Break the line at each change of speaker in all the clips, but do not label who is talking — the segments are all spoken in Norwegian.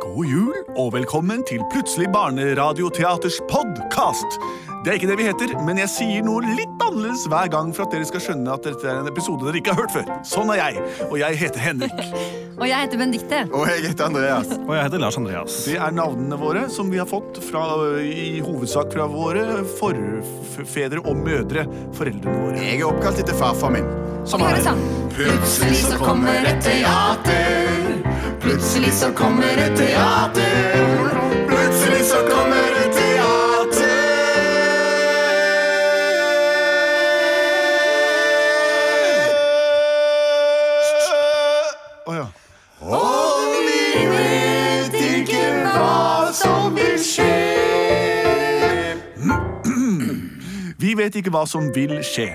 God jul og velkommen til Plutselig barneradioteaters podkast. Det er ikke det vi heter, men jeg sier noe litt annerledes hver gang for at dere skal skjønne at dette er en episode dere ikke har hørt før. Sånn er jeg, og jeg heter Henrik.
Og jeg heter Benedikte.
Og jeg heter Andreas.
Og jeg heter Lars Andreas.
Det er navnene våre som vi har fått fra, i hovedsak fra våre forfedre og mødre, foreldrene våre.
Jeg er oppkalt etter farfar min.
Vi hører sang.
Plutselig så kommer et teater. Plutselig så kommer et teater. Plutselig så kommer et teater.
Å ja.
Og vi vet ikke hva som vil skje.
Vi vet ikke hva som vil skje.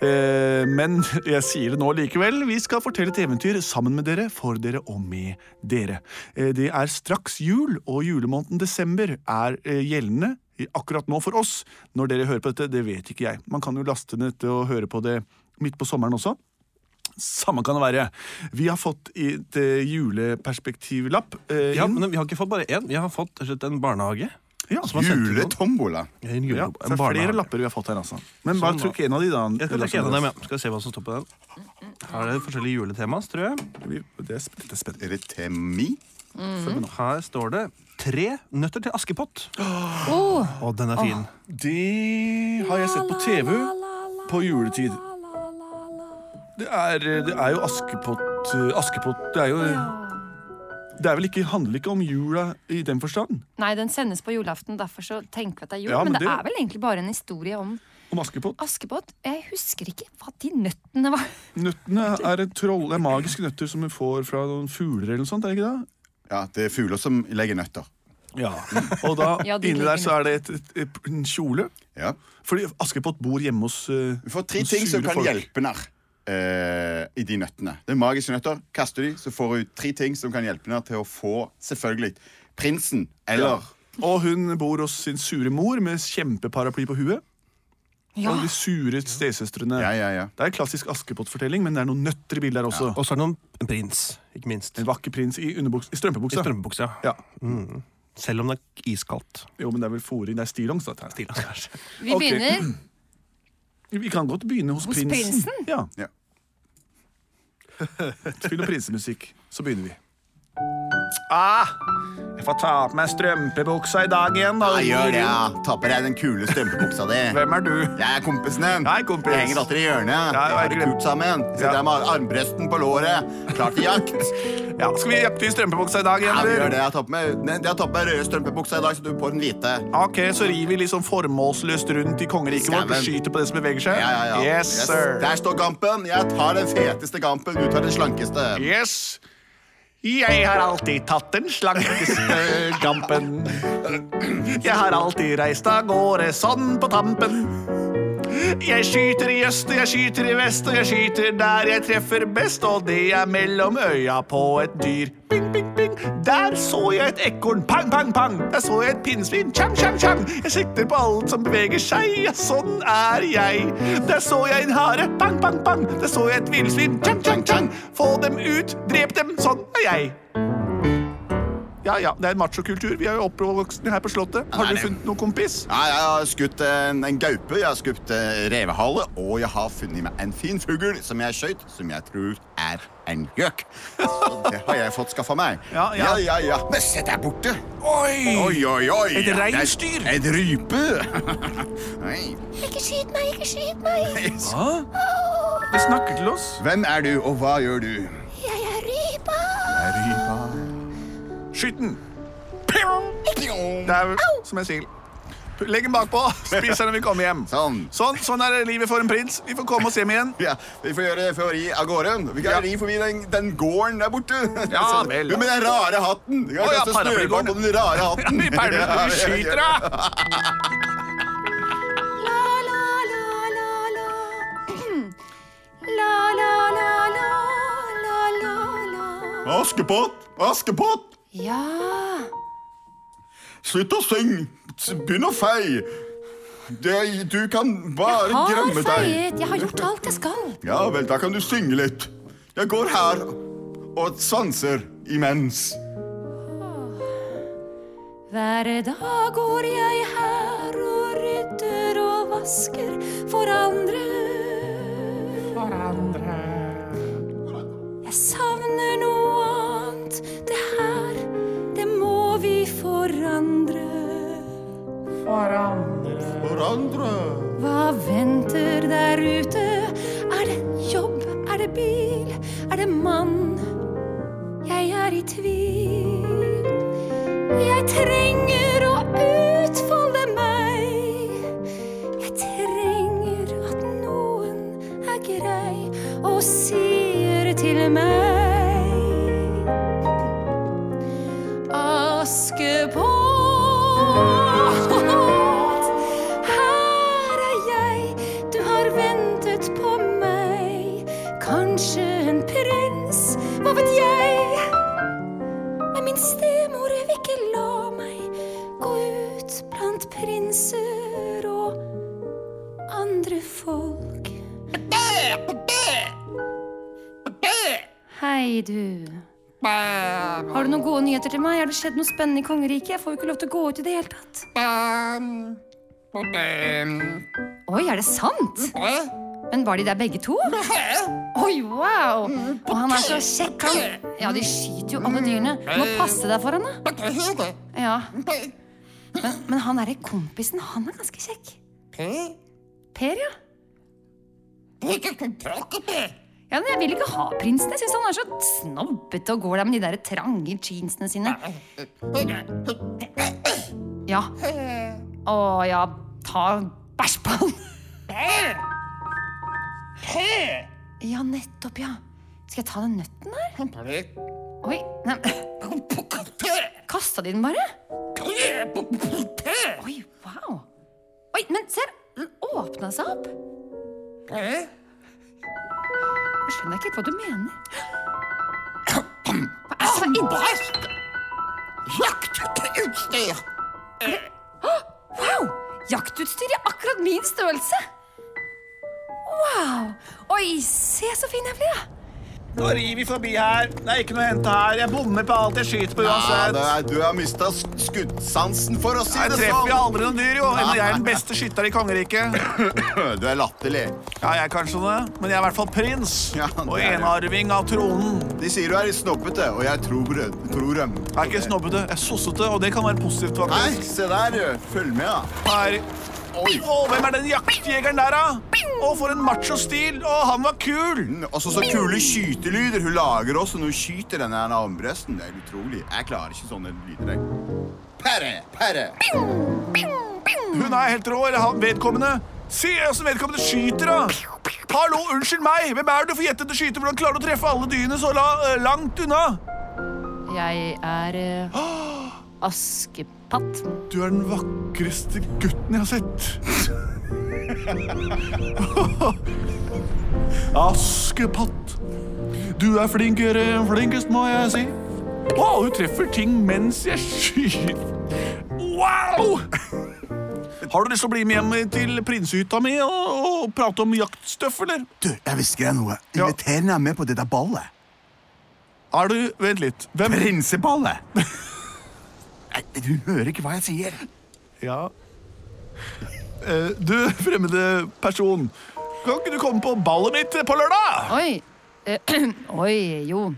Eh, men jeg sier det nå likevel. Vi skal fortelle et eventyr sammen med dere, for dere og med dere. Eh, det er straks jul, og julemåneden desember er eh, gjeldende i- akkurat nå for oss. Når dere hører på dette, det vet ikke jeg. Man kan jo laste ned dette og høre på det midt på sommeren også. Samme kan det være. Vi har fått et eh, juleperspektivlapp eh,
Ja,
inn.
men Vi har ikke fått bare én, vi har fått rett og slett en barnehage.
Ja,
som har sendt ut noen.
Juletombola.
En jule-
ja,
en
så det er
barnehage.
flere lapper vi har fått her, altså. Men bare
Sånn, da.
trykk en av de, da.
Jeg skal
Lars
trekke en av dem,
Andreas.
ja. Skal vi se hva som står på den. Her er det forskjellige juletemas, tror jeg.
Vi- Det er sp- det er spennende.
Er det Temi?
Mhm.
Her står det 'Tre nøtter til Askepott'.
Oh,
Å, den
Ah.
er fin.
Det har jeg sett på TV på juletid. Det er, det er jo Askepott eh, Askepott Det er jo Det er vel ikke, handler ikke om jula i den forstand?
Nei, den sendes på julaften, derfor så tenker vi at det er jul.
Ja,
men,
men
det,
det-
er vel egentlig bare en historie om
Om Askepott?
Askepott. Jeg husker ikke hva de nøttene var.
Nøttene er et troll, det er magiske nøtter som vi får fra noen fugler eller noe sånt, er det ikke det?
Ja, det er fugler som legger nøtter.
Ja. Og da,
Ja, de
inni
liker
der så er det et, et, et, en kjole.
Ja.
Fordi Askepott bor hjemme hos eh,
Du får tre
noen
ting som
sure
kan
folk.
hjelpe narr eh, i de nøttene. Det er magiske nøtter. Kaster de, så får du tre ting som kan hjelpe narr til å få selvfølgelig prinsen eller
Og hun bor hos sin sure mor med kjempeparaply på huet.
Ja.
Og de sure stesøstrene.
Ja, ja, ja.
Det er en klassisk Askepott-fortelling, men det er noen nøtter i bildet her også.
Og så er det noen, en prins, ikke minst.
En
I
vakker prins i, underbuks, i strømpebuksa.
strømpebuksa.
ja.
Selv om det er iskaldt.
Jo, men det er vel fôring. Det er stillongs, dette her.
Stillongs, kanskje.
Vi
Ok.
begynner.
Vi kan godt begynne hos,
Hos
prinsen.
prinsen?
Ja.
Ja.
Spill noe prinsemusikk, så begynner vi. Ah, jeg får ta på meg strømpebuksa i dag igjen, da.
Ja, gjør det, ja. Ta på deg den kule strømpebuksa di.
Hvem er du?
Jeg er kompisen din.
Hei, kompis.
Jeg henger datter i hjørnet.
Ja,
Vi har det
jeg glem-
kult sammen. Vi Sitter
Ja.
der med armbrøsten på låret, klar til jakt.
Ja, skal vi jakte i strømpebuksa i dag
Ja,
igjen,
vi gjør det. Jeg har tatt på meg, Nei, jeg har tatt på meg røde strømpebuksa i dag, så du får den hvite.
Ah, Ok, så rir vi liksom formålsløst rundt i kongeriket vårt og
Skauen.
skyter på det som beveger seg?
Ja, ja, ja.
Yes, sir.
Der står gampen. Jeg tar den feteste gampen. Du tar den slankeste.
Yes. Jeg har alltid tatt den slankeste gampen. Jeg har alltid reist av gårde sånn på tampen. Jeg skyter i øst, og jeg skyter i vest, og jeg skyter der jeg treffer best, og det er mellom øya på et dyr. Bing, bing, bing. Der så jeg et ekorn. Pang, pang, pang. Der så jeg et pinnsvin. Tjam, tjam, tjam. Jeg sikter på alt som beveger seg. Ja, sånn er jeg. Der så jeg en hare. Pang, pang, pang. Der så jeg et villsvin. Tjam, tjam, tjam. Få dem ut. Drep dem. Sånn er jeg. Ja, ja, Det er en machokultur. Vi er jo oppvokst her på Slottet. Har dere
Nei, det-
funnet noen kompis?
Ja, jeg har skutt en, en gaupe, jeg har skutt eh, revehale, og jeg har funnet meg en fin fugl som jeg skjøt, som jeg tror er en gjøk. Så det har jeg fått skaffa meg.
Ja, ja.
ja, ja. Men se der borte!
Oi!
Oi, oi, oi!
Et reinsdyr.
Et rype! Nei.
Ikke skyt meg, ikke skyt meg!
De snakker til oss.
Hvem er du, og hva gjør du?
Jeg er rypa!
Skyt den! Det er som en sil. Legg den bakpå. Spis den når vi kommer hjem.
Sånn.
Sånn, sånn er livet for en prins. Vi får komme oss hjem igjen.
Ja, vi får gjøre for å ri av gårde. Vi kan
Ja.
ri forbi den, den gården der borte.
Ja, vel.
Men den rare hatten! Vi kan
Å, ja,
kaste snøball
paraplygården.
på den rare hatten.
Vi perler
Ja,
vi
ja, ja.
skyter av!
La, la, la, la, la. La, la, la, la, la, la, la.
Askepott! Askepott!
Ja,
Slutt å synge! S- Begynn å feie! Det- Du kan bare
har
gremme deg.
feiet. Jeg har gjort alt jeg skal.
Ja vel, da kan du synge litt. Jeg går her og sanser imens.
Hver dag går jeg her og rydder og vasker for andre. For andre. Jeg savner noe annet. Det her, det må vi forandre.
Forandre.
Hva venter der ute? Er det jobb? Er det bil? Er det mann? Jeg er i tvil. Jeg trenger å utfolde meg. Jeg trenger at noen er grei og sier til meg. Askepott, her er jeg, du har ventet på meg. Kanskje en prins, hva vet jeg? Men min stemor vil ikke la meg gå ut blant prinser og andre folk.
Hei, du. Har du noen gode nyheter til meg? Har det skjedd noe spennende i kongeriket? Jeg får jo ikke lov til å gå ut i det hele tatt. Oi, er det sant? Men var de der begge to? Oi, wow! Og han er så kjekk, han. Ja, de skyter jo alle dyrene. Du må passe deg for han, da. Ja. Men, men han derre kompisen, han er ganske kjekk. Per, ja. Ja, men Jeg vil ikke ha prinsen. Jeg syns han er så snobbete og går der med de der trange jeansene sine. Ja. Å ja, ta bæsj på han. Ja, nettopp, ja. Skal jeg ta den nøtten der? Oi, nei Kasta de den bare? Oi, wow. Oi, men ser, den åpna seg opp. Jeg skjønner ikke helt hva du mener. Hva er det som er inni Wow! Jaktutstyr er akkurat min størrelse. Wow! Oi, se så fin jeg blir, da.
Nå rir vi forbi her. Det er ikke noe å hente her. Jeg bommer på alt jeg skyter på
Ja,
uansett.
det er, du har mista skuddsansen, for å si
Jeg
det
treffer jo
sånn.
aldri noen dyr, jo. Eller jeg er den beste skytter i kongeriket.
Du er latterlig.
Ja, jeg er kanskje det, men jeg er i hvert fall prins.
Ja, det
og
er du.
enarving av tronen.
De sier du er litt snobbete, og jeg tror, tror dem.
Jeg er ikke snobbete, jeg er sossete, og det kan være positivt,
Nei,
faktisk.
se der. Følg med, da.
Her.
Oi.
Å, hvem er den jaktjegeren der, da? Å, for en macho-stil. Å, han var kul.
Også så kule skytelyder hun lager også når hun skyter den her armbrøsten. Det er utrolig. Jeg klarer ikke sånne lyder. Jeg. Pære, pære.
Hun er helt rå, eller han vedkommende. Se åssen vedkommende skyter, da. Hallo, unnskyld meg. Hvem er du for gjettete skyter? Hvordan klarer du å treffe alle dyrene så la, eh, langt unna?
Jeg er eh, askepatt.
Du er den vakreste gutten jeg har sett. Askepatt. Du er flinkere enn flinkest, må jeg si. Å, du treffer ting mens jeg skyter. Wow! Har du lyst til å bli med hjem til prinsehytta mi og, og prate om jaktstøff, eller?
Du, jeg hvisker deg noe.
Ja.
Inviter henne med på det der ballet.
Er du Vent litt. Hvem
Prinseballet. Nei, du hører ikke hva jeg sier.
Ja. Eh, Du fremmede person. Kan ikke du komme på ballet mitt på lørdag?
Oi. Eh, Oi, jo.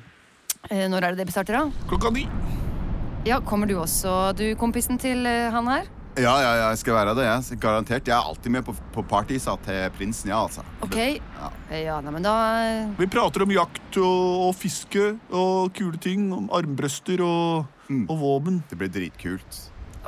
Eh, Når er det det starter, da?
Klokka ni.
Ja, Kommer du også, du, kompisen til eh, han her?
Ja, ja, ja, jeg skal være det. Jeg. Garantert. Jeg er alltid med på, på parties ja, til prinsen, ja, altså.
Ok. Eh, Ja, nei, men da eh,
Vi prater om jakt og, og fiske og kule ting. Om armbrøster og,
Mm.
og våpen.
Det blir dritkult.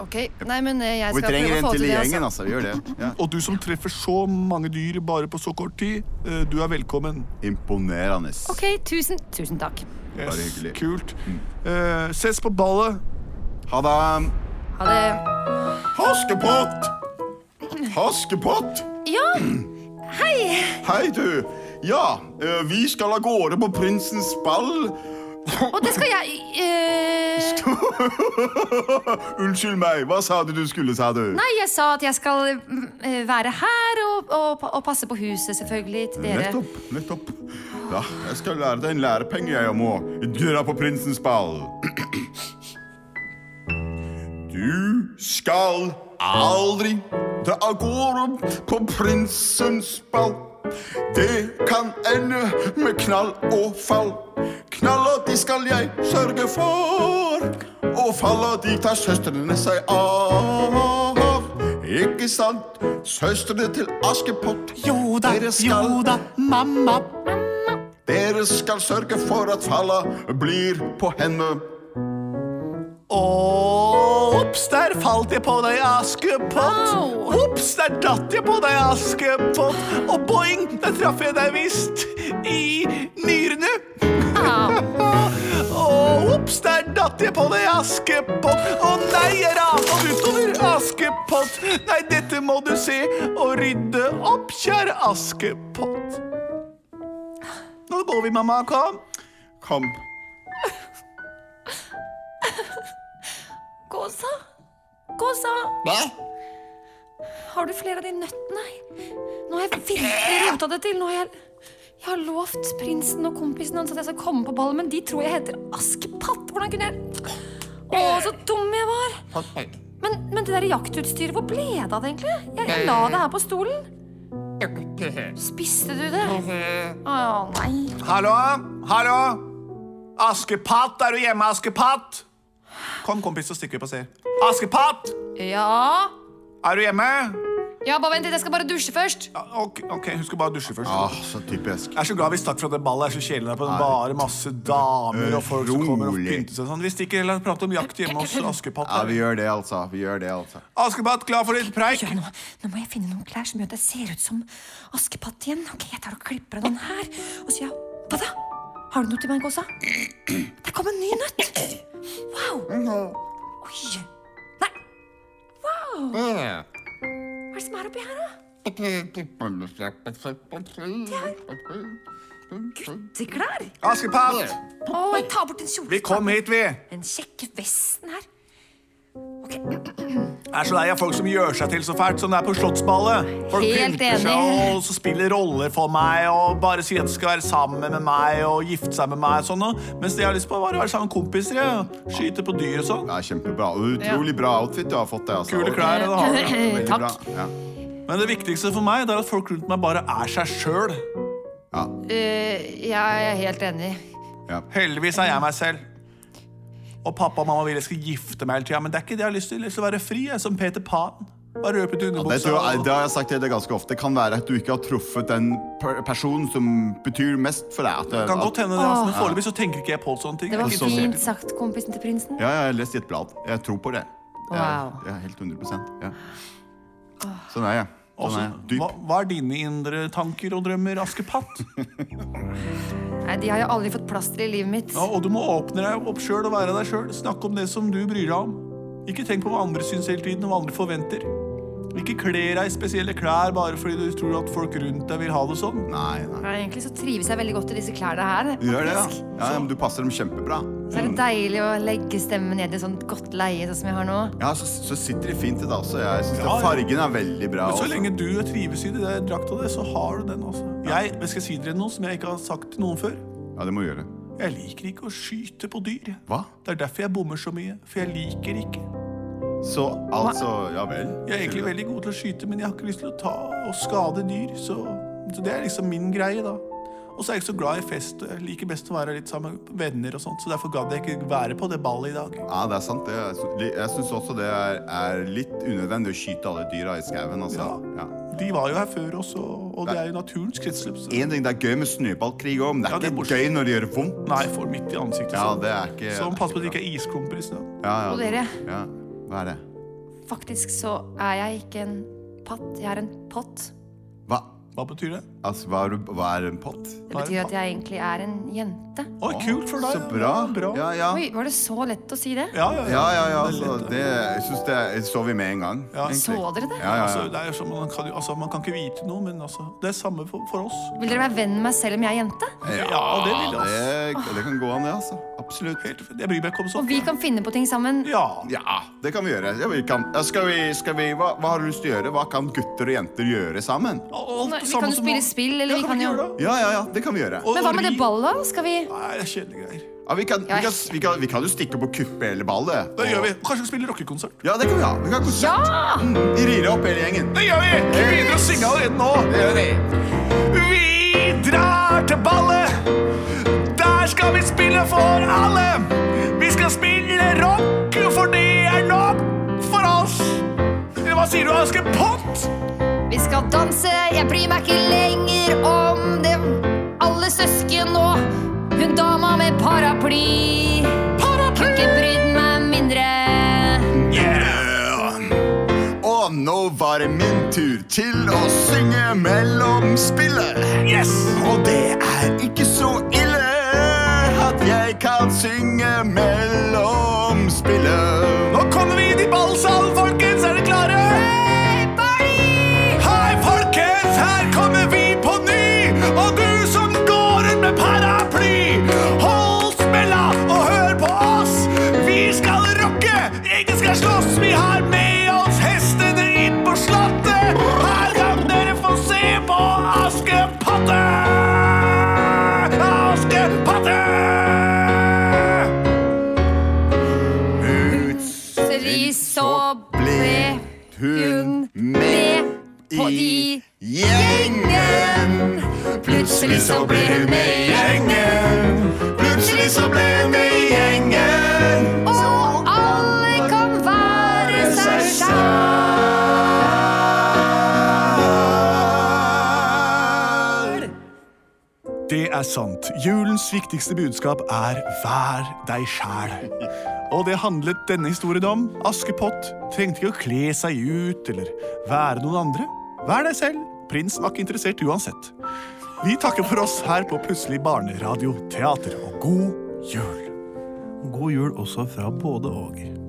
Ok. Nei, men eh, jeg
Og vi
skal
trenger
prøve å
en
få
til
til
i
det.
gjengen,
Altså.
altså. Vi gjør det. Ja.
Og du som treffer så mange dyr bare på så kort tid, eh, du er velkommen.
Imponerende.
Ok, tusen, tusen takk.
Bare hyggelig. Mm.
Kult. Eh, ses på ballet.
Ha det.
Ha det.
Askepott! Askepott!
Ja,
Hei, du. Ja, eh, vi skal av gårde på prinsens ball.
og det skal jeg eh,
Unnskyld meg, hva sa du du skulle, sa du?
Nei, jeg sa at jeg skal mm, eh, være her og, og, og passe på huset, selvfølgelig, til dere.
Nettopp. Nettopp. Ja, jeg skal lære deg en lærepenge jeg om å dra på prinsens ball. Du skal aldri dra av gårde på prinsens ball. Det kan ende med knall og fall. Knaller de skal jeg sørge for, og faller de tar søstrene seg av. Ikke sant, søstrene til Askepott?
Jo da,
Dere skal-
jo da, mamma.
Dere skal sørge for at falla blir på henne.
Ops, der falt jeg på deg, Askepott.
Au.
Ops, der datt jeg på deg, Askepott. Og boing, der traff jeg deg visst i nyrene. Og ops, der datt jeg på deg, Askepott. Å nei, jeg rapa utover, Askepott. Nei, dette må du se og rydde opp, kjære Askepott. Nå går vi, mamma. Kom.
Kom.
Gåsa? Gåsa,
Hva?
har du flere av de nøttene? Nå har jeg virkelig rota det til. Nå har jeg, jeg har lovt prinsen og kompisen hans at jeg skal komme på ballen, men de tror jeg heter Askepott. Hvordan kunne jeg Å, så dum jeg var. Men, men det der jaktutstyret, hvor ble det av det egentlig? Jeg, jeg la det her på stolen. Spiste du det? Å nei.
Hallo? Hallo? Askepott, er du hjemme, Askepott? Kom, kompis, så stikker vi på C. Askepott,
Ja
er du hjemme?
Ja, bare vent litt, jeg skal bare dusje først.
Ja, Ok, ok, hun skal bare dusje først.
Ah, så typisk.
Jeg er så glad vi stakk fra det ballet. Det er så kjedelig der på den bare masse damer og folk som kommer og
Rolig.
pynter seg og sånn. Vi stikker heller og prater om jakt hjemme hos Askepott.
Ja, vi gjør det, altså. Vi gjør det, altså.
Askepott, klar for litt preik?
gjøre nå? Nå må jeg finne noen klær som gjør at jeg ser ut som Askepott igjen. Ok, jeg tar og klipper av den her. Og så gjør jeg Hva da? Har du noe til meg, Gåsa? Der kom en ny nøtt! Wow! Oi! Nei! Wow! Hva er det som er oppi her, da? Gutteklær?
Askepott,
Å, jeg tar bort den kjolen.
vi kom hit, vi.
Den kjekke vesten her. Ok,
Jeg er så lei av folk som gjør seg til så fælt som det er på Slottsballet. Folk
Helt
pynter seg
enig.
og så spiller roller for meg og bare sier at de skal være sammen med meg og gifte seg med meg. og sånn. og- Mens det jeg har lyst på, er bare å være sammen med kompiser. Ja. Skyte på dyr og sånn.
Ja, kjempebra. Utrolig bra outfit du har fått deg. Altså.
Kule klær. og det har jeg.
Veldig
Takk.
bra. Ja.
Men det viktigste for meg det er at folk rundt meg bare er seg sjøl.
Ja.
Eh, jeg er helt enig.
Ja.
Heldigvis er jeg meg selv. Og pappa og mamma vil jeg skal gifte meg hele tida, men det er ikke det jeg har lyst til. Jeg har lyst til å være fri, jeg, som Peter Pan. Bare røpe til
Det,
underbuksa.
tror jeg,
og-
det har jeg sagt til deg ganske ofte. Det kan være at du ikke har truffet den per personen som betyr mest for deg. At,
Det kan godt
at,
hende, det, altså, men foreløpig så tenker ikke jeg på sånne ting.
Det var
Jeg er ikke
fint sagt, kompisen til prinsen.
ja, jeg har lest i et blad. Jeg tror på det. Jeg, er-
Wow.
jeg er helt 100 ja. Sånn er jeg. Sånn
Altså,
er jeg. Dyp.
hva, hva er dine indre tanker og drømmer, Askepott?
Nei, De har jo aldri fått plaster i livet mitt.
Ja, og du må åpne deg opp sjøl og være deg sjøl. Snakke om det som du bryr deg om. Ikke tenk på hva andre syns hele tiden, og hva andre forventer. Ikke kle deg i spesielle klær bare fordi du tror at folk rundt deg vil ha det sånn.
Nei, nei.
Nei, Egentlig så trives jeg veldig godt i disse klærne her.
Du gjør det, ja.
faktisk.
ja. ja, men Du passer dem kjempebra.
Så
Mm.
er det deilig å legge stemmen ned i et sånt godt leie, sånn som jeg har nå.
Ja, så, så sitter de fint i dag også. Jeg synes
Ja, ja.
at Fargen er veldig bra.
Men så
også.
lenge du trives i det der drakta di, så har du den, altså. Jeg, jeg skal si dere noe som jeg ikke har sagt til noen før.
Ja, det må du gjøre.
Jeg liker ikke å skyte på dyr.
Hva?
Det er derfor jeg bommer så mye. For jeg liker ikke.
Så altså Ja vel.
Jeg er egentlig veldig god til å skyte, men jeg har ikke lyst til å ta og skade dyr. Så, så det er liksom min greie, da. Og så er jeg ikke så glad i fest. og Jeg liker best å være litt sammen med venner og sånt, så derfor gadd jeg ikke være på det ballet i dag.
Ja, det er sant. Det er, jeg syns også det er, er litt unødvendig å skyte alle dyra i skauen. Altså. Ja.
De var jo her før oss, og, og det er jo naturens kretsløp. Så.
En ting det er gøy med snøballkrig òg, men det
Ja,
er
det er
ikke
morsomt.
gøy når det gjør vondt.
Nei, får midt i ansiktet.
Ja,
sånn.
det er ikke
så pass på at det ikke er isklumper i snøen.
ja, ja.
Og dere?
Ja. Hva er det?
Faktisk så er jeg ikke en patt, jeg er en pott.
Hva,
Hva betyr det?
altså, hva, er, hva er en pott?
Det betyr at jeg egentlig er en jente.
Oi, kult for deg.
Så bra.
Ja, bra.
Ja, ja.
Oi, var det så lett å si det?
Ja, ja,
Ja, ja,
Det er
ja, altså,
lett,
det, jeg synes det så vi med en gang.
Ja.
egentlig.
Så dere det?
Ja, ja,
Altså,
ja.
det er jo sånn, man, kan, jo- altså, man kan ikke vite noe, men altså, det er samme for, for oss.
Vil dere være venn med meg selv om jeg er jente?
Ja, det vil jeg,
det,
altså.
det kan gå an, det. altså. Absolutt.
Helt, jeg bryr meg ikke om sånt.
Og vi kan finne på ting sammen.
Ja.
Ja, det kan vi gjøre. Ja, vi kan. Ja, skal vi, skal vi, hva, hva har du lyst til å gjøre? Hva kan gutter og jenter gjøre sammen?
Alt
Vi
samme
kan jo
som
spille
nå.
spill, eller
Ja,
vi
kan
kan
vi
jo
ikke gjøre det?
Ja, ja, ja, det kan vi gjøre.
Og-
Men hva med
og
det
ri-
ballet, da? Skal vi
Nei, det er kjedelige greier.
Ja, vi, kan, vi,
Ja,
kan, vi, kan, vi kan jo stikke opp og kuppe hele ballet.
Det gjør vi. Kanskje vi spiller rockekonsert.
Ja, det kan vi ha. Vi kan konsert.
Ja!
Vi rir opp hele gjengen.
Det gjør vi! Vi begynner å synge allerede nå.
Det gjør vi.
Vi drar til ballet. Der skal vi spille for alle. Vi skal spille rock, for det er nok for oss. Hva sier du, Askepott?
Vi skal danse, jeg bryr meg ikke lenger om det Alle søsken og hun dama med paraply Paraply! Kunne ikke brydd meg mindre
Og nå var det min tur til å synge mellom spillet.
Yes!
Og det er ikke så ille at jeg kan synge mellom spillet.
Nå kommer vi inn i ballsalen, folkens. Er dere klare? Hei, folkens, her kommer vi på ny. Og du som går rundt med paraply, hold smella og hør på oss. Vi skal rocke, ingen skal slåss. Vi har med oss hestene inn på slottet. Her kan dere få se på Askepatte. Askepatte!
Plutselig så ble hun med på de
gjengen. Plutselig så ble hun med i gjengen. Plutselig så ble hun med i gjengen.
Og alle kan være seg selv
Ah.
Det er sant. Julens viktigste budskap er vær deg sjæl. Og det handlet denne historien om. Askepott trengte ikke å kle seg ut eller være noen andre. Vær deg selv. Prinsen var ikke interessert uansett. Vi takker for oss her på Plutselig barneradioteater, og god jul.
God jul også fra både og.